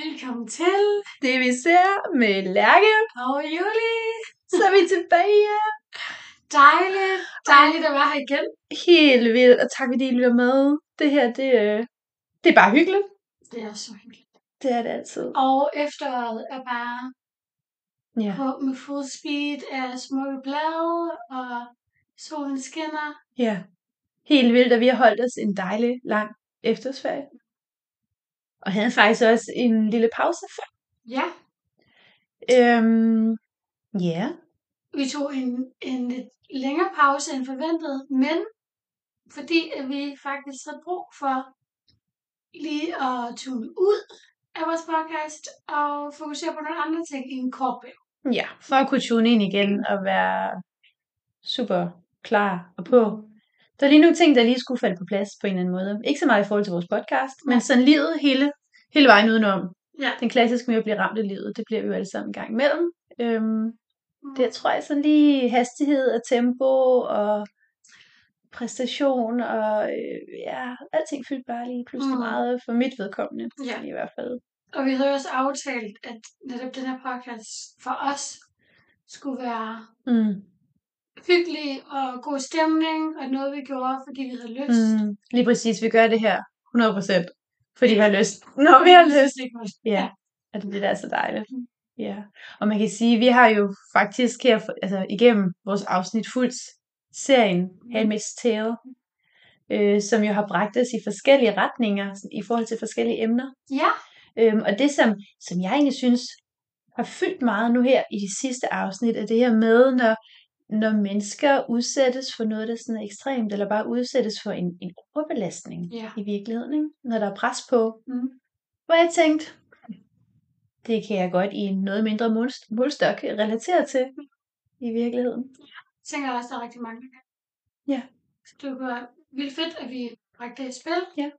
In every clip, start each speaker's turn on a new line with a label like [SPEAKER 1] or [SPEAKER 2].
[SPEAKER 1] Velkommen til
[SPEAKER 2] Det vi ser med Lærke,
[SPEAKER 1] og Julie.
[SPEAKER 2] så er vi tilbage.
[SPEAKER 1] Dejligt. Dejligt at være her igen.
[SPEAKER 2] Helt vildt, og tak fordi I lytter med. Det her, det, øh, det er bare hyggeligt.
[SPEAKER 1] Det er så hyggeligt.
[SPEAKER 2] Det er det altid.
[SPEAKER 1] Og efteråret er bare
[SPEAKER 2] Ja.
[SPEAKER 1] på med full speed af smukke blade, og solen skinner.
[SPEAKER 2] ja. Helt vildt, og vi har holdt os en dejlig, lang efterårsferie. Og havde faktisk også en lille pause før.
[SPEAKER 1] Ja,
[SPEAKER 2] Øhm, ja.
[SPEAKER 1] vi tog en, en lidt længere pause end forventet, men fordi at vi faktisk havde brug for lige at tune ud af vores podcast og fokusere på nogle andre ting i en kort periode.
[SPEAKER 2] Ja, for at kunne tune ind igen og være super klar og på. Der er lige nogle ting, der lige skulle falde på plads på en eller anden måde. Ikke så meget i forhold til vores podcast, men
[SPEAKER 1] Nej.
[SPEAKER 2] sådan livet hele, hele vejen udenom.
[SPEAKER 1] Ja.
[SPEAKER 2] Den klassiske med at blive ramt af livet, det bliver vi jo alle sammen en gang imellem. Øhm, det tror jeg sådan lige hastighed og tempo og præstation og øh, ja, alting fyldte bare lige pludselig
[SPEAKER 1] Mm.
[SPEAKER 2] mm. meget for mit vedkommende.
[SPEAKER 1] Ja.
[SPEAKER 2] I hvert fald.
[SPEAKER 1] Og vi havde jo også aftalt, at netop den her podcast for os skulle være
[SPEAKER 2] Mm.
[SPEAKER 1] hyggelig og god stemning, og noget vi gjorde, fordi vi havde lyst.
[SPEAKER 2] Mm. Lige præcis, vi gør det her 100%, fordi vi har lyst. Når vi har lyst.
[SPEAKER 1] Ikke måske.
[SPEAKER 2] Ja, og det, det er da så dejligt.
[SPEAKER 1] Mhm.
[SPEAKER 2] Ja, og man kan sige, at vi har jo faktisk her, for- altså igennem vores afsnit fuldt serien Handmaid's Tale, øh, som jo har bragt os i forskellige retninger sådan i forhold til forskellige emner.
[SPEAKER 1] Ja,
[SPEAKER 2] Øhm, og det, som, som jeg egentlig synes har fyldt meget nu her i de sidste afsnit, er det her med, når, når mennesker udsættes for noget, der sådan er ekstremt, eller bare udsættes for en, en overbelastning
[SPEAKER 1] ja.
[SPEAKER 2] i virkeligheden, ikke? når der er pres på,
[SPEAKER 1] Mm.
[SPEAKER 2] hvor jeg tænkte, det kan jeg godt i en noget mindre målst- målstok relatere til i virkeligheden.
[SPEAKER 1] Jeg tænker også, der er rigtig mange, der kan.
[SPEAKER 2] Ja.
[SPEAKER 1] Så det var vildt fedt, at vi bragte det i spil.
[SPEAKER 2] Ja.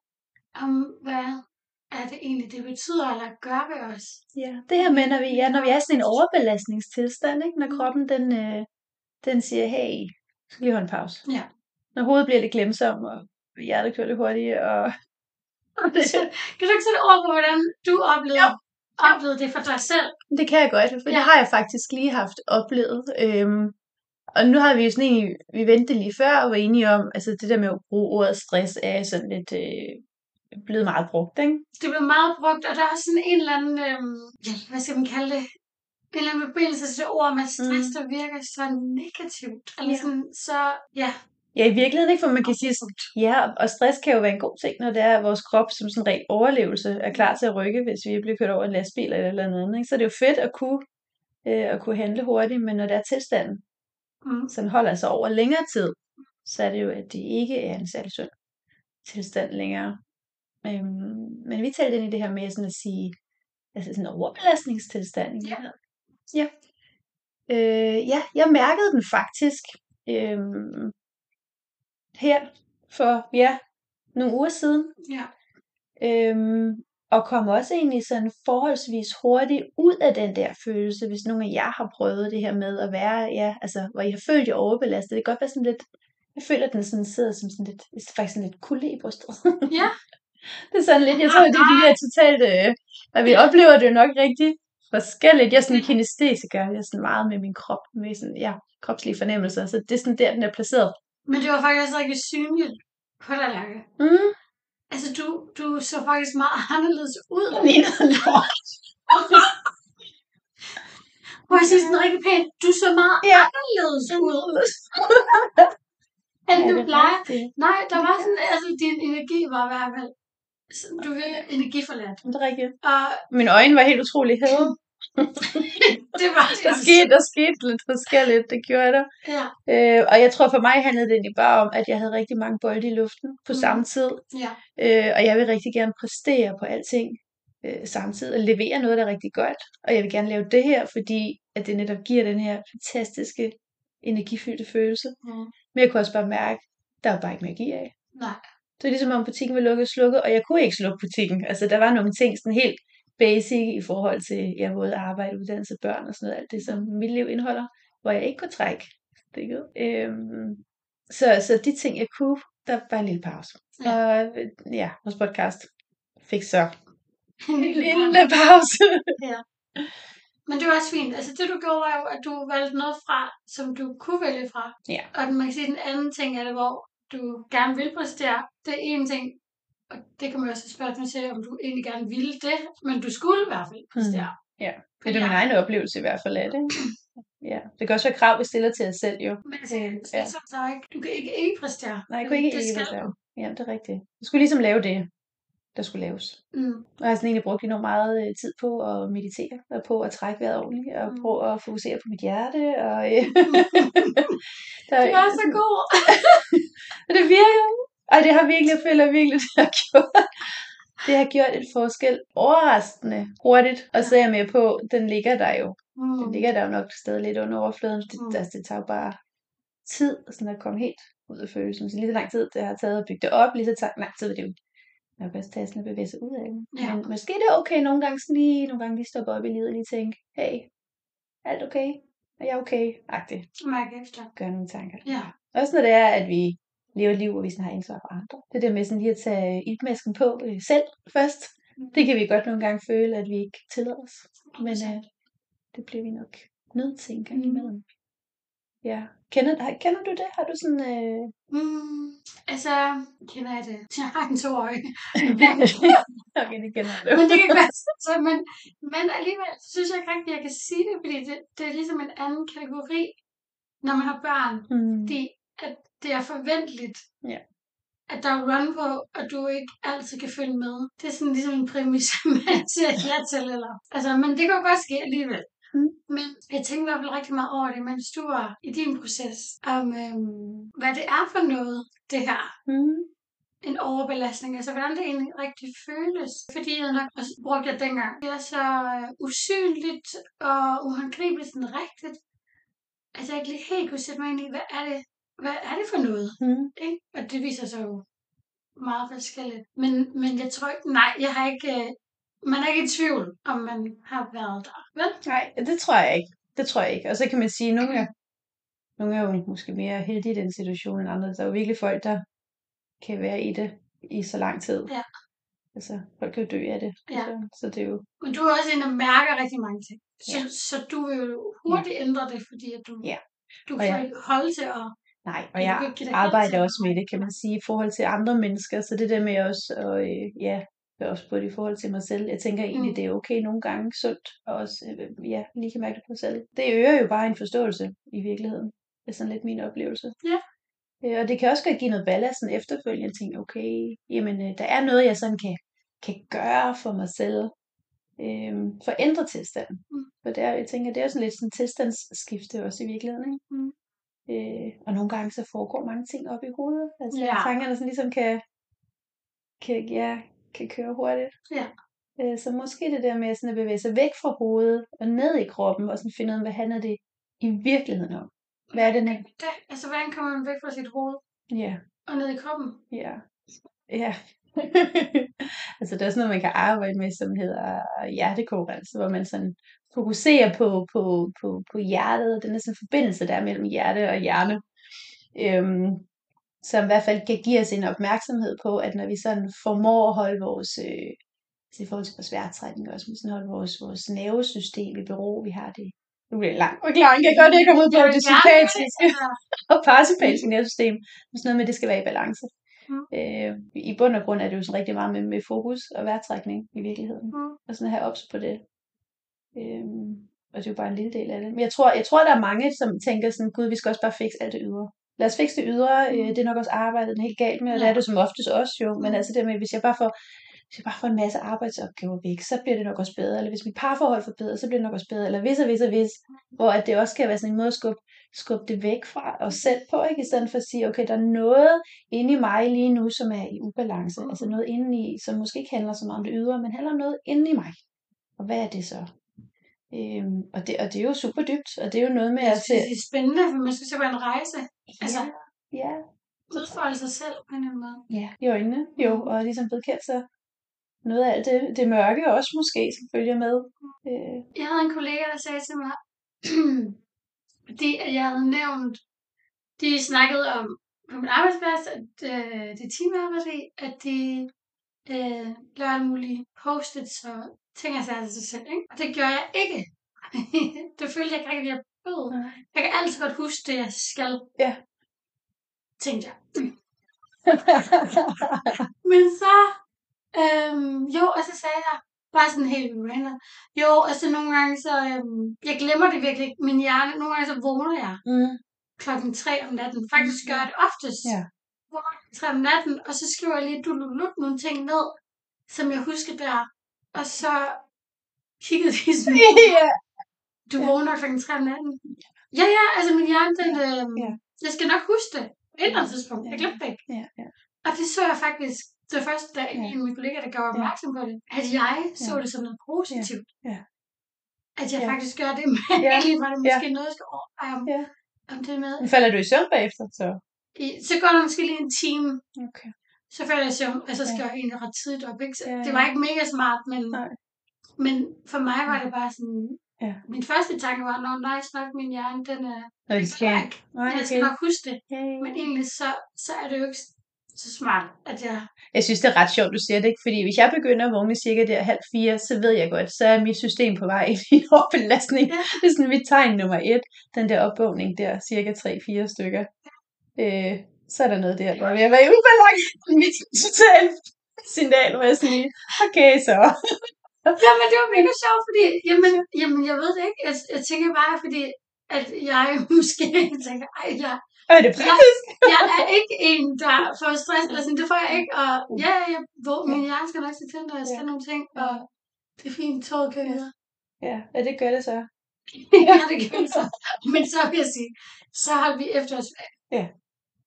[SPEAKER 1] Om hvad er det egentlig, det betyder, eller gør ved os?
[SPEAKER 2] Ja, det her med, når vi, ja, når vi er i sådan en overbelastningstilstand, ikke? når kroppen den, øh, den siger, hey, du skal lige holde en pause.
[SPEAKER 1] Ja.
[SPEAKER 2] Når hovedet bliver lidt glemsom, og hjertet kører lidt hurtigt, og... og det,
[SPEAKER 1] Kan du ikke sætte ord på, hvordan du oplevede, oplevede det for dig selv?
[SPEAKER 2] det kan jeg godt, for
[SPEAKER 1] Ja.
[SPEAKER 2] det har jeg faktisk lige haft oplevet. Øhm, og nu har vi jo sådan en, vi vendte lige før og var enige om, altså det der med at bruge ordet stress er sådan lidt øh, blevet meget brugt, ikke?
[SPEAKER 1] det blev meget brugt, og der er også sådan en eller anden, øhm, ja, hvad skal man kalde det, en eller anden forbindelse til det ord med stress, mm.
[SPEAKER 2] Mm.
[SPEAKER 1] der virker så negativt. Eller
[SPEAKER 2] Ja.
[SPEAKER 1] sådan, så ja.
[SPEAKER 2] Ja, i virkeligheden ikke, for man kan sige,
[SPEAKER 1] sådan,
[SPEAKER 2] ja, og stress kan jo være en god ting, når det er, at vores krop som sådan ren overlevelse er klar til at rykke, hvis vi bliver kørt over en lastbil eller et eller andet. Ikke? Så det er jo fedt at kunne, øh, at kunne handle hurtigt, men når der er tilstanden,
[SPEAKER 1] mm,
[SPEAKER 2] sådan holder sig over længere tid, så er det jo, at det ikke er en særlig sund tilstand længere. Øhm, men vi talte ind i det her med sådan at sige, altså sådan en overbelastningstilstand. ikke?
[SPEAKER 1] Ja.
[SPEAKER 2] Ja. Øh, ja, jeg mærkede den faktisk øhm, her for ja, nogle uger siden,
[SPEAKER 1] ja.
[SPEAKER 2] øhm, og kom også egentlig sådan forholdsvis hurtigt ud af den der følelse, hvis nogen af jer har prøvet det her med at være, ja, altså, hvor I har følt jer overbelastet. Det kan godt være sådan lidt, jeg føler, at den sådan sidder som sådan lidt, det er faktisk sådan lidt kulde i brystet.
[SPEAKER 1] Ja. Ah,
[SPEAKER 2] det er sådan lidt, jeg tror, det er de der totalt, øh, at vi oplever det jo nok rigtig forskelligt. Jeg er sådan en kinestesiker, jeg er sådan meget med min krop, med sådan, ja, kropslige fornemmelser, så det er sådan der, den er placeret.
[SPEAKER 1] Men det var faktisk også rigtig synligt på dig, Lærke.
[SPEAKER 2] Mm.
[SPEAKER 1] Altså, du, du så faktisk meget anderledes ud.
[SPEAKER 2] Den ene er lort.
[SPEAKER 1] Må jeg sige sådan rigtig pænt, du så meget
[SPEAKER 2] Ja.
[SPEAKER 1] anderledes ud, end du plejer. Nej, der var sådan, altså, din energi var i hvert fald, sådan, du virkede energiforladt.
[SPEAKER 2] Det er rigtigt.
[SPEAKER 1] Og
[SPEAKER 2] Mine øjne var helt utrolig hævet.
[SPEAKER 1] det var det
[SPEAKER 2] Der
[SPEAKER 1] også.
[SPEAKER 2] skete, der skete lidt forskelligt, det gjorde der.
[SPEAKER 1] Ja,
[SPEAKER 2] Øh, og jeg tror for mig handlede det egentlig bare om, at jeg havde rigtig mange bolde i luften på
[SPEAKER 1] Mhm.
[SPEAKER 2] samme tid.
[SPEAKER 1] ja.
[SPEAKER 2] Øh, og jeg vil rigtig gerne præstere på alting øh, samtidig og levere noget, der er rigtig godt. Og jeg vil gerne lave det her, fordi at det netop giver den her fantastiske, energifyldte følelse.
[SPEAKER 1] Mm.
[SPEAKER 2] Men jeg kunne også bare mærke, der var bare ikke mere at give af.
[SPEAKER 1] Nej.
[SPEAKER 2] Det var ligesom om butikken var lukket og slukket, og jeg kunne ikke slukke butikken. Altså, der var nogle ting sådan helt basic i forhold til, ja, både arbejde, uddannelse, børn og sådan noget, alt det, som mit liv indeholder, hvor jeg ikke kunne trække stikket. Øhm, så, så de ting, jeg kunne, der var en lille pause.
[SPEAKER 1] Ja.
[SPEAKER 2] Og øh, ja, vores podcast fik så
[SPEAKER 1] en
[SPEAKER 2] En
[SPEAKER 1] lille
[SPEAKER 2] lille pause.
[SPEAKER 1] Men det var også fint. Altså det du gjorde var jo, at du valgte noget fra, som du kunne vælge fra.
[SPEAKER 2] Ja.
[SPEAKER 1] Og man kan sige, at den anden ting er det, hvor du gerne vil præstere. Det er en ting, og det kan man også spørge mig til, om du egentlig gerne ville det, men du skulle i hvert fald præstere.
[SPEAKER 2] Mm. ja. Det er jo min egen oplevelse i hvert fald af det. ikke? Ja. Det kan også være krav, vi stiller til os selv jo.
[SPEAKER 1] Men altså, ja.
[SPEAKER 2] Ja.
[SPEAKER 1] så, så ikke, du kan ikke ikke præstere.
[SPEAKER 2] Nej, jeg
[SPEAKER 1] Men
[SPEAKER 2] kunne ikke
[SPEAKER 1] det
[SPEAKER 2] ikke
[SPEAKER 1] skal
[SPEAKER 2] lave. Ja, det er rigtigt. Jeg skulle ligesom lave det, der skulle laves.
[SPEAKER 1] Mm.
[SPEAKER 2] Og jeg har sådan egentlig brugt enormt meget øh, tid på at meditere, og på at trække vejret ordentligt, og
[SPEAKER 1] Mm.
[SPEAKER 2] på at fokusere på mit hjerte. Og, øh, der,
[SPEAKER 1] Det var Mm. så god.
[SPEAKER 2] Og det virker. Og det har virkelig, jeg føler virkelig, det har gjort. Det har gjort en forskel overraskende hurtigt. Og så er jeg med på, den ligger der jo. Den
[SPEAKER 1] Mm.
[SPEAKER 2] ligger der jo nok stadig lidt under overfladen. Det,
[SPEAKER 1] Mm.
[SPEAKER 2] altså, det tager jo bare tid sådan at komme helt ud af følelsen. Så lige så lang tid, det har taget at bygge det op, lige så tak, lang tid vil det jo nok også tage sådan at bevæge sig ud af det.
[SPEAKER 1] Ja.
[SPEAKER 2] Men måske det er okay nogle gange sådan lige, nogle gange lige stoppe op i livet og lige tænke, hey, alt okay? Er jeg okay? Agtigt.
[SPEAKER 1] Mærke efter.
[SPEAKER 2] Gør nogle tanker.
[SPEAKER 1] Ja.
[SPEAKER 2] Også når det er, at vi lever et liv, hvor vi sådan har ansvar for andre. Det der med sådan lige at tage iltmasken på øh, selv først, det kan vi godt nogle gange føle, at vi ikke tillader os. Men øh, det bliver vi nok nødt til en gang
[SPEAKER 1] Mm.
[SPEAKER 2] imellem. Ja. Kender, har- kender du det? Har du sådan... Øh...
[SPEAKER 1] Mm. Altså, kender jeg det? Jeg har en toårig.
[SPEAKER 2] okay, det kender jeg.
[SPEAKER 1] men det kan være så, men, men alligevel synes jeg ikke rigtigt, at jeg kan sige det, fordi det, det er ligesom en anden kategori, når man har børn,
[SPEAKER 2] Mm.
[SPEAKER 1] fordi at det er forventeligt,
[SPEAKER 2] Ja.
[SPEAKER 1] at der er run på, og du ikke altid kan følge med. Det er sådan ligesom en præmis, som man siger ja til, eller... Altså, men det kan jo godt ske alligevel.
[SPEAKER 2] Mm.
[SPEAKER 1] Men jeg tænker i hvert fald rigtig meget over det, mens du var i din proces, om øhm, hvad det er for noget, det her
[SPEAKER 2] Mm.
[SPEAKER 1] en overbelastning, altså hvordan det egentlig rigtig føles. Fordi jeg nok også brugte jeg dengang. Det er så øh, usynligt og uhåndgribeligt sådan rigtigt, at jeg ikke lige helt kunne sætte mig ind i, hvad er det, hvad er det for noget?
[SPEAKER 2] Mm.
[SPEAKER 1] Ikke? Og det viser sig jo meget forskelligt. Men, men jeg tror ikke, nej, jeg har ikke, øh, man er ikke i tvivl, om man har været der. Vel?
[SPEAKER 2] Nej, det tror jeg ikke. Det tror jeg ikke. Og så kan man sige, at nogle er, nogle er jo måske mere heldige i den situation end andre. Der er jo virkelig folk, der kan være i det i så lang tid.
[SPEAKER 1] Ja.
[SPEAKER 2] Altså, folk kan jo dø af det.
[SPEAKER 1] Ja.
[SPEAKER 2] Altså, så det er jo...
[SPEAKER 1] Men du er også en, der mærker rigtig mange ting. Så,
[SPEAKER 2] Ja.
[SPEAKER 1] så du vil jo hurtigt ændre det, fordi at du,
[SPEAKER 2] Ja.
[SPEAKER 1] du
[SPEAKER 2] Og
[SPEAKER 1] kan
[SPEAKER 2] jeg-
[SPEAKER 1] ikke holde til at...
[SPEAKER 2] Nej,
[SPEAKER 1] Men
[SPEAKER 2] og
[SPEAKER 1] du
[SPEAKER 2] jeg
[SPEAKER 1] kan ikke give dig hen
[SPEAKER 2] arbejder
[SPEAKER 1] til-
[SPEAKER 2] også med det, kan man sige, i forhold til andre mennesker. Så det der med også at, øh, ja, være også på det i forhold til mig selv. Jeg tænker egentlig,
[SPEAKER 1] Mm.
[SPEAKER 2] det er okay nogle gange sundt, og også, øh, ja, lige kan mærke det på mig selv. Det øger jo bare en forståelse i virkeligheden. Det er sådan lidt min oplevelse.
[SPEAKER 1] Ja.
[SPEAKER 2] Øh, og det kan også godt give noget ballast sådan efterfølgende. Jeg tænker, okay, jamen, øh, der er noget, jeg sådan kan, kan gøre for mig selv. Øh, forændre tilstanden.
[SPEAKER 1] Mm.
[SPEAKER 2] For det er, jeg tænker, det er jo sådan lidt sådan tilstandsskifte også i virkeligheden, ikke?
[SPEAKER 1] Mm.
[SPEAKER 2] Øh, og nogle gange så foregår mange ting op i hovedet. Altså
[SPEAKER 1] Ja.
[SPEAKER 2] ja. tankerne sådan ligesom kan, kan, ja, kan køre hurtigt.
[SPEAKER 1] Ja.
[SPEAKER 2] Øh, så måske det der med sådan at bevæge sig væk fra hovedet og ned i kroppen og sådan finde ud af, hvad handler det i virkeligheden om? Hvad er det nu?
[SPEAKER 1] Da, altså, hvordan kommer man væk fra sit hoved
[SPEAKER 2] Ja,
[SPEAKER 1] og ned i kroppen?
[SPEAKER 2] ja, ja. altså der er sådan noget, man kan arbejde med, som hedder hjertekoherence, hvor man sådan fokuserer på, på, på, på hjertet, og den der sådan forbindelse der er mellem hjerte og hjerne. Øhm, som i hvert fald kan give os en opmærksomhed på, at når vi sådan formår at holde vores, øh, altså i forhold til vores vejrtrækning også, men sådan holde vores, vores nervesystem i bero, vi har det. Nu bliver det langt. Forklaring kan jeg godt ikke komme ud på
[SPEAKER 1] Jeg vil
[SPEAKER 2] det
[SPEAKER 1] gerne gøre det,
[SPEAKER 2] psykiatriske
[SPEAKER 1] altså.
[SPEAKER 2] og parasympatiske nervesystem. Men sådan noget med, at det skal være i balance.
[SPEAKER 1] Mm.
[SPEAKER 2] Øh, I bund og grund er det jo sådan rigtig meget med, med fokus og vejrtrækning i virkeligheden.
[SPEAKER 1] Mm.
[SPEAKER 2] Og sådan at have ops på det. Øh, og det er jo bare en lille del af det. Men jeg tror, jeg tror der er mange, som tænker sådan, gud, vi skal også bare fikse alt det ydre. Lad os fikse det ydre, øh, det er nok også arbejdet den er helt galt med, og det
[SPEAKER 1] Mm. Ja.
[SPEAKER 2] er det som oftest også jo. Men
[SPEAKER 1] Mm.
[SPEAKER 2] altså det med, hvis jeg bare får hvis jeg bare får en masse arbejdsopgaver væk, så bliver det nok også bedre. Eller hvis mit parforhold forbedres, så bliver det nok også bedre. Eller hvis og hvis og hvis.
[SPEAKER 1] Mm.
[SPEAKER 2] Hvor at det også kan være sådan en måde at skubbe, skubbe det væk fra os selv på, ikke? I stedet for at sige, okay, der er noget inde i mig lige nu, som er i ubalance.
[SPEAKER 1] Mhm.
[SPEAKER 2] Altså noget inde i, som måske ikke handler så meget om det ydre, men handler om noget inde i mig. Og hvad er det så? Øhm, og, det, og det er jo super dybt, og det er jo noget med
[SPEAKER 1] Jeg
[SPEAKER 2] at
[SPEAKER 1] synes, det er spændende, for man skal se på en rejse. altså-
[SPEAKER 2] ja, ja,
[SPEAKER 1] Udfolde sig selv på en eller anden måde.
[SPEAKER 2] Ja, i øjnene,
[SPEAKER 1] Mm.
[SPEAKER 2] jo, og ligesom vedkendt sig noget af alt det, det mørke også måske, som følger med. Øh,
[SPEAKER 1] Jeg havde en kollega, der sagde til mig, fordi at jeg havde nævnt, de snakkede om på min arbejdsplads, at øh, det er teamarbejde, at de øh, lave alle mulige post-its og ting og sager til sig selv. Ikke? Og det gjorde jeg ikke. det følte jeg ikke rigtig, at jeg bød.
[SPEAKER 2] Øh.
[SPEAKER 1] Jeg kan altid godt huske det, jeg skal.
[SPEAKER 2] Ja.
[SPEAKER 1] Tænkte jeg. Men så, øhm, jo, og så sagde jeg, bare sådan helt random. Jo, og så nogle gange, så, øhm, jeg glemmer det virkelig ikke. Min hjerne, nogle gange så vågner jeg
[SPEAKER 2] mm.
[SPEAKER 1] klokken 3 om natten. Faktisk gør jeg det oftest.
[SPEAKER 2] Ja.
[SPEAKER 1] Klokken 3 om natten, og så skriver jeg lige dululut nogle ting ned, som jeg husker der. Og så kiggede de sådan,
[SPEAKER 2] ja.
[SPEAKER 1] du
[SPEAKER 2] Ja.
[SPEAKER 1] vågner klokken 3 om natten. Ja, ja, altså min hjerne, den, øh,
[SPEAKER 2] Ja.
[SPEAKER 1] jeg skal nok huske det. På et eller andet tidspunkt. Jeg
[SPEAKER 2] Ja.
[SPEAKER 1] glemte det ikke.
[SPEAKER 2] Ja, ja.
[SPEAKER 1] Og det så jeg faktisk, det var første dag, ja.
[SPEAKER 2] Ja.
[SPEAKER 1] en af mine kollegaer, der gjorde
[SPEAKER 2] Ja.
[SPEAKER 1] opmærksom på det, at jeg så
[SPEAKER 2] Ja.
[SPEAKER 1] det som noget positivt.
[SPEAKER 2] Ja.
[SPEAKER 1] At jeg
[SPEAKER 2] Ja.
[SPEAKER 1] faktisk gør det, men
[SPEAKER 2] Ja.
[SPEAKER 1] egentlig var det måske noget, jeg skal overveje om,
[SPEAKER 2] Ja.
[SPEAKER 1] om det med.
[SPEAKER 2] Men falder du i søvn bagefter, så?
[SPEAKER 1] I, så går der måske lige en time,
[SPEAKER 2] Okay.
[SPEAKER 1] så falder jeg i søvn, og så skal
[SPEAKER 2] Ja.
[SPEAKER 1] ja. jeg egentlig ret tidligt op. Ikke? Så
[SPEAKER 2] Ja,
[SPEAKER 1] ja,
[SPEAKER 2] ja.
[SPEAKER 1] Det var ikke mega smart, men,
[SPEAKER 2] Nej.
[SPEAKER 1] men for mig var det bare sådan,
[SPEAKER 2] Ja.
[SPEAKER 1] min første tanke var, når nice nok, min hjerne, den er
[SPEAKER 2] Nå, det skal jeg.
[SPEAKER 1] ikke. Jeg skal nok huske det.
[SPEAKER 2] Ja, ja.
[SPEAKER 1] Men egentlig, så, så er det jo ikke så smart, at jeg...
[SPEAKER 2] Jeg synes, det er ret sjovt, du siger det, ikke? fordi hvis jeg begynder at vågne cirka der halv fire, så ved jeg godt, så er mit system på vej ind i en overbelastning.
[SPEAKER 1] Ja.
[SPEAKER 2] Det er sådan mit tegn nummer et, den der opvågning der, cirka 3-4 stykker. Øh, så er der noget der, der er ved at være i ubalance i mit totale signal, hvor jeg sådan lige, okay så.
[SPEAKER 1] Jamen, det var mega sjovt, fordi... Jamen, jamen jeg ved det ikke. Jeg, jeg tænker bare, fordi at jeg måske tænker, ej, jeg,
[SPEAKER 2] Og er det praktisk?
[SPEAKER 1] jeg er ikke en, der får stress, eller sådan, det får jeg ikke, og Mm. ja, jeg, hvor, min hjerne skal nok se til, når jeg skal nogle ting, og det er fint, toget kører videre.
[SPEAKER 2] Ja, og det gør det så.
[SPEAKER 1] ja, det kan man så. Men så vil jeg sige, så holdt vi efterårsferie.
[SPEAKER 2] Ja.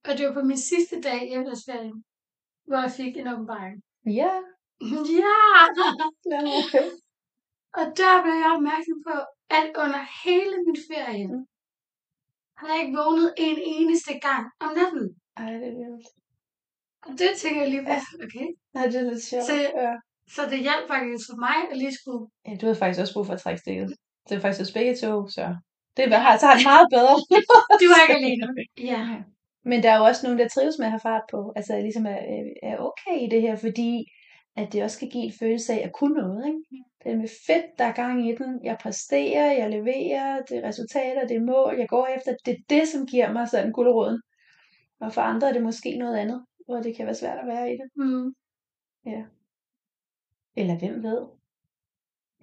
[SPEAKER 1] Og det var på min sidste dag i efterårsferien, hvor jeg fik en åbenbaring.
[SPEAKER 2] Ja.
[SPEAKER 1] ja!
[SPEAKER 2] Ja.
[SPEAKER 1] Og der blev jeg opmærksom på, at under hele min ferie,
[SPEAKER 2] Mm.
[SPEAKER 1] har jeg ikke vågnet en eneste gang om natten.
[SPEAKER 2] Ej, det er vildt.
[SPEAKER 1] Og det tænker jeg lige på, okay.
[SPEAKER 2] Ej, det er lidt sjovt. Øh,
[SPEAKER 1] Så-
[SPEAKER 2] Ja.
[SPEAKER 1] Så det hjalp faktisk for mig at lige skulle
[SPEAKER 2] ja, du havde faktisk også brug for at trække stikket. Det er faktisk også begge to, så det er, så har det meget bedre.
[SPEAKER 1] Du var ikke alene. Ja.
[SPEAKER 2] Men der er jo også nogen, der trives med at have fart på, altså ligesom er, er- er okay i det her, fordi at det også kan give en følelse af at kunne noget. Ikke?
[SPEAKER 1] Mm.
[SPEAKER 2] Det er med fedt, der er gang i den. Jeg præsterer, jeg leverer, det er resultater, det er mål, jeg går efter. Det er det, som giver mig sådan guldråden. Og for andre er det måske noget andet, hvor det kan være svært at være i det.
[SPEAKER 1] Mm.
[SPEAKER 2] Eller hvem ved?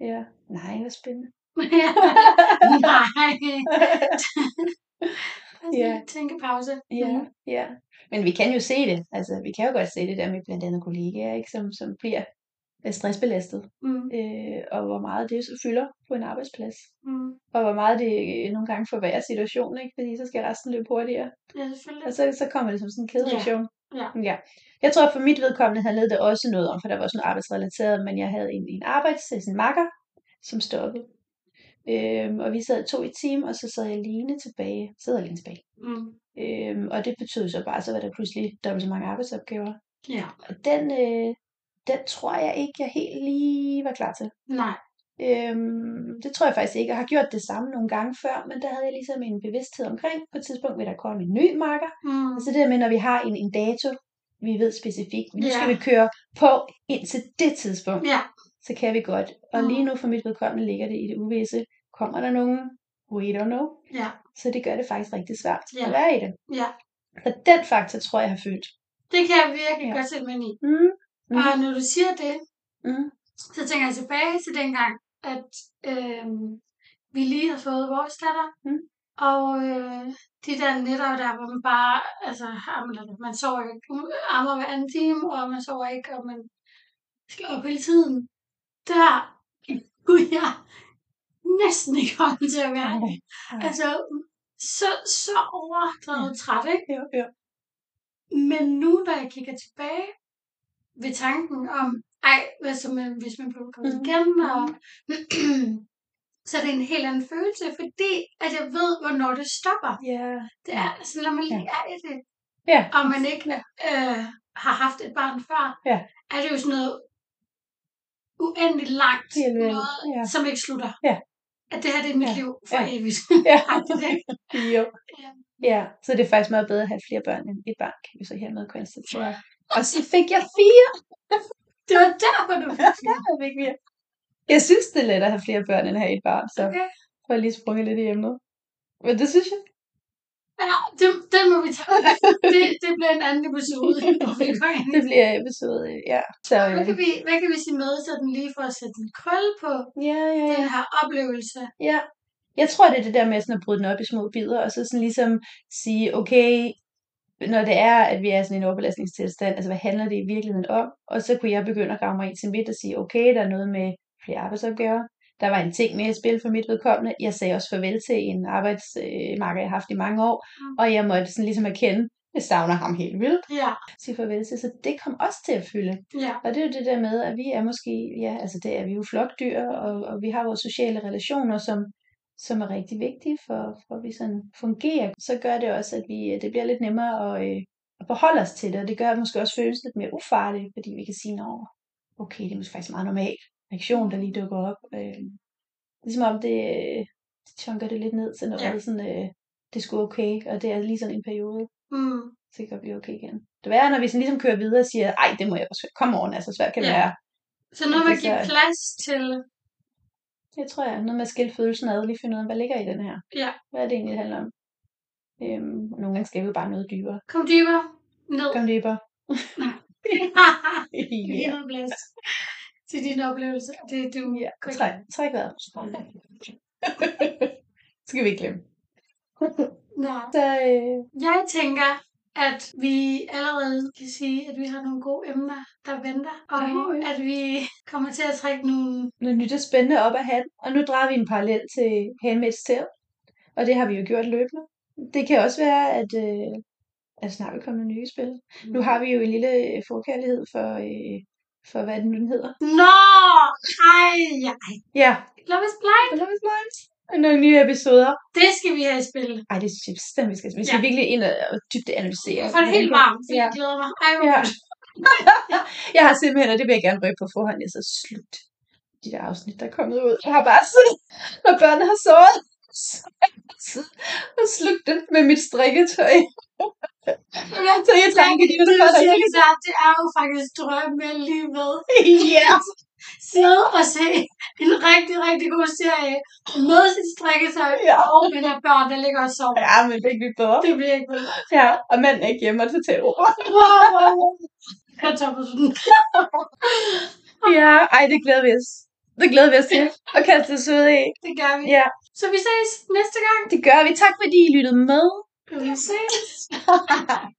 [SPEAKER 2] Ja, nej, hvor spændende.
[SPEAKER 1] Nej.
[SPEAKER 2] Ja.
[SPEAKER 1] ja. Tænkepause.
[SPEAKER 2] Ja, mm.
[SPEAKER 1] Mm-hmm.
[SPEAKER 2] ja. Men vi kan jo se det. Altså, vi kan jo godt se det der med blandt andet kollegaer, ikke? Som, som bliver stressbelastet.
[SPEAKER 1] Mm.
[SPEAKER 2] øh, og hvor meget det så fylder på en arbejdsplads.
[SPEAKER 1] Mm.
[SPEAKER 2] Og hvor meget det øh, nogle gange forværrer situationen, ikke? fordi så skal resten løbe hurtigere.
[SPEAKER 1] Ja, selvfølgelig.
[SPEAKER 2] Og så, så kommer det som sådan en kædereaktion.
[SPEAKER 1] Ja.
[SPEAKER 2] ja. Jeg tror, at for mit vedkommende handlede det også noget om, for der var også noget arbejdsrelateret, men jeg havde en, en arbejds, sådan en makker, som stoppede. Øhm, og vi sad to i team, og så sad jeg alene tilbage. Sad alene tilbage.
[SPEAKER 1] Mm.
[SPEAKER 2] Øhm, og det betød så bare, så var der pludselig dobbelt så mange arbejdsopgaver.
[SPEAKER 1] Ja.
[SPEAKER 2] Og den, øh, den tror jeg ikke, jeg helt lige var klar til.
[SPEAKER 1] Nej.
[SPEAKER 2] Øhm, det tror jeg faktisk ikke. Jeg har gjort det samme nogle gange før, men der havde jeg ligesom en bevidsthed omkring. På et tidspunkt vil der komme en ny marker.
[SPEAKER 1] Mm.
[SPEAKER 2] Og så det der med, når vi har en, en dato, vi ved specifikt, nu skal
[SPEAKER 1] Ja.
[SPEAKER 2] vi køre på indtil det tidspunkt,
[SPEAKER 1] Ja.
[SPEAKER 2] så kan vi godt. Og
[SPEAKER 1] Mm.
[SPEAKER 2] lige nu for mit vedkommende ligger det i det uvisse. Kommer der nogen? We don't know.
[SPEAKER 1] Ja.
[SPEAKER 2] Så det gør det faktisk rigtig svært
[SPEAKER 1] Ja.
[SPEAKER 2] at være i det.
[SPEAKER 1] Ja.
[SPEAKER 2] Så den faktor tror jeg har fyldt.
[SPEAKER 1] Det kan jeg virkelig
[SPEAKER 2] Ja.
[SPEAKER 1] ja. godt sætte mig ind i.
[SPEAKER 2] Mm.
[SPEAKER 1] Mm. Og når du siger det,
[SPEAKER 2] Mm.
[SPEAKER 1] så tænker jeg tilbage til dengang, at øh, vi lige har fået vores datter.
[SPEAKER 2] Mm.
[SPEAKER 1] Og øh, de der netter der, hvor man bare, altså, jamen, altså, man sover ikke, u- ammer hver anden time, og man sover ikke, og man skal op hele tiden. Der kunne jeg næsten ikke holde til at være.
[SPEAKER 2] Ej, ej.
[SPEAKER 1] Altså, så, så overdrevet træt, ikke?
[SPEAKER 2] Jo, jo.
[SPEAKER 1] Men nu, når jeg kigger tilbage ved tanken om, ej, hvad så med, hvis man blev kommet
[SPEAKER 2] Mhm.
[SPEAKER 1] igen, og,
[SPEAKER 2] Mm-hmm.
[SPEAKER 1] så er det en helt anden følelse, fordi at jeg ved, hvornår det stopper.
[SPEAKER 2] Ja.
[SPEAKER 1] Det er sådan, når man lige er i det,
[SPEAKER 2] Ja.
[SPEAKER 1] og man ikke øh, har haft et barn før,
[SPEAKER 2] Ja.
[SPEAKER 1] er det jo sådan noget uendeligt langt,
[SPEAKER 2] Helt vildt,
[SPEAKER 1] noget,
[SPEAKER 2] ja.
[SPEAKER 1] som ikke slutter.
[SPEAKER 2] Ja.
[SPEAKER 1] At det her, det er mit
[SPEAKER 2] Ja,
[SPEAKER 1] liv for
[SPEAKER 2] ja.
[SPEAKER 1] evigt.
[SPEAKER 2] Ja.
[SPEAKER 1] Agtigt, ikke?
[SPEAKER 2] Jo.
[SPEAKER 1] Ja.
[SPEAKER 2] Ja, så det er faktisk meget bedre at have flere børn end et barn, kan vi så hermed konstatere. Og så fik jeg fire.
[SPEAKER 1] Det var derfor, du fik det.
[SPEAKER 2] Jeg fik mere. Jeg synes, det er let at have flere børn, end at have et barn, så
[SPEAKER 1] Okay.
[SPEAKER 2] får jeg lige sprunget lidt i emnet. Men det synes jeg.
[SPEAKER 1] Ja, det, den må vi tage. ud. Det, det bliver en anden episode. hvor vi går ind i
[SPEAKER 2] Det bliver episode, ja. Så, øh,
[SPEAKER 1] Hvad kan, vi, hvad kan vi sige med, så den lige får sat en kold på
[SPEAKER 2] ja, ja, ja.
[SPEAKER 1] den her oplevelse?
[SPEAKER 2] Ja. Jeg tror, det er det der med sådan at bryde den op i små bidder, og så sådan ligesom sige, okay, når det er, at vi er sådan i en overbelastningstilstand, altså hvad handler det i virkeligheden om? Og så kunne jeg begynde at grave mig ind til midt og sige, okay, der er noget med flere arbejdsopgaver. Der var en ting med at spille for mit vedkommende. Jeg sagde også farvel til en arbejdsmarker, jeg har haft i mange år,
[SPEAKER 1] Mm.
[SPEAKER 2] og jeg måtte sådan ligesom erkende, jeg savner ham helt vildt.
[SPEAKER 1] Ja,
[SPEAKER 2] Sige farvel til, så det kom også til at fylde.
[SPEAKER 1] ja,
[SPEAKER 2] Og det er jo det der med, at vi er måske, ja, altså det er vi er jo flokdyr, og, og vi har vores sociale relationer, som, som er rigtig vigtige for, for at vi sådan fungerer. Så gør det også, at vi, øh, det bliver lidt nemmere at, øh, at forholde os til det, og det gør at måske også føles lidt mere ufarligt, fordi vi kan sige, nå, okay, det er måske faktisk meget normal reaktion, der lige dukker op. Øh, ligesom om det, øh, det chunker det lidt ned til noget,
[SPEAKER 1] Ja.
[SPEAKER 2] ja. sådan, øh, det er sgu okay, og det er lige sådan en periode
[SPEAKER 1] mm,
[SPEAKER 2] så kan det godt blive okay igen. Det værre, er, når vi sådan ligesom kører videre og siger, ej, det må jeg også, kom over, altså svært kan det
[SPEAKER 1] Ja.
[SPEAKER 2] være.
[SPEAKER 1] Så noget med
[SPEAKER 2] Det
[SPEAKER 1] at give
[SPEAKER 2] er så-
[SPEAKER 1] plads til,
[SPEAKER 2] Det tror jeg, er noget med at skille følelsen ad, lige finde ud af, hvad ligger i den her?
[SPEAKER 1] Ja.
[SPEAKER 2] Hvad er det egentlig, det handler om? Øhm, og nogle gange skal vi bare noget dybere.
[SPEAKER 1] kom dybere ned.
[SPEAKER 2] Kom dybere.
[SPEAKER 1] Giv
[SPEAKER 2] ja.
[SPEAKER 1] noget plads til din oplevelse. Det er du.
[SPEAKER 2] ja.
[SPEAKER 1] Gå
[SPEAKER 2] Træk, træk vejret. skal vi ikke glemme.
[SPEAKER 1] Nå.
[SPEAKER 2] Så, øh,
[SPEAKER 1] Jeg tænker, at vi allerede kan sige, at vi har nogle gode emner, der venter. Og
[SPEAKER 2] Ja, ja.
[SPEAKER 1] at vi kommer til at trække nogle...
[SPEAKER 2] noget nyt og spændende op af hatten. Og nu drager vi en parallel til Handmaid's Tale. Og det har vi jo gjort løbende. Det kan også være, at, øh, at snart vil komme nogle nye spil. Nu har vi jo en lille øh, forkærlighed for, øh, for hvad den nu den hedder.
[SPEAKER 1] Nå! Ej, ja.
[SPEAKER 2] Ja,
[SPEAKER 1] Love is blind.
[SPEAKER 2] Love is Blind. Og nogle nye episoder.
[SPEAKER 1] Det skal vi have i spil.
[SPEAKER 2] Ej, det synes jeg bestemt, vi skal. Vi skal
[SPEAKER 1] Ja.
[SPEAKER 2] ja. virkelig ind og og dybt analysere.
[SPEAKER 1] Jeg får det helt varmt, så
[SPEAKER 2] Ja.
[SPEAKER 1] jeg glæder mig. Ej, hvor
[SPEAKER 2] Ja.
[SPEAKER 1] godt.
[SPEAKER 2] Jeg har simpelthen, og det vil jeg gerne røbe på forhånd, jeg er så slut de der afsnit, der er kommet ud. Jeg har bare siddet, når børnene har sovet, så har jeg siddet og slugt det med mit strikketøj. Så jeg tænker, det er jo
[SPEAKER 1] Det,
[SPEAKER 2] det,
[SPEAKER 1] du
[SPEAKER 2] der
[SPEAKER 1] siger
[SPEAKER 2] er
[SPEAKER 1] der, det er jo faktisk drømme lige med.
[SPEAKER 2] Ja.
[SPEAKER 1] Sidde og se en rigtig, rigtig god serie med sit strikketøj
[SPEAKER 2] Ja.
[SPEAKER 1] og med der børn, der ligger og sover.
[SPEAKER 2] Ja, men det er ikke lidt bedre.
[SPEAKER 1] Det bliver ikke bedre.
[SPEAKER 2] Ja, og manden er ikke hjemme og totalt over.
[SPEAKER 1] Wow, wow, wow. Jeg topper sådan.
[SPEAKER 2] Ja, ej, det glæder vi os. Det glæder vi os til at kaste os ud i.
[SPEAKER 1] Det gør vi.
[SPEAKER 2] Ja,
[SPEAKER 1] Så vi ses næste gang.
[SPEAKER 2] det gør vi. Tak fordi I lyttede med.
[SPEAKER 1] Vi ses.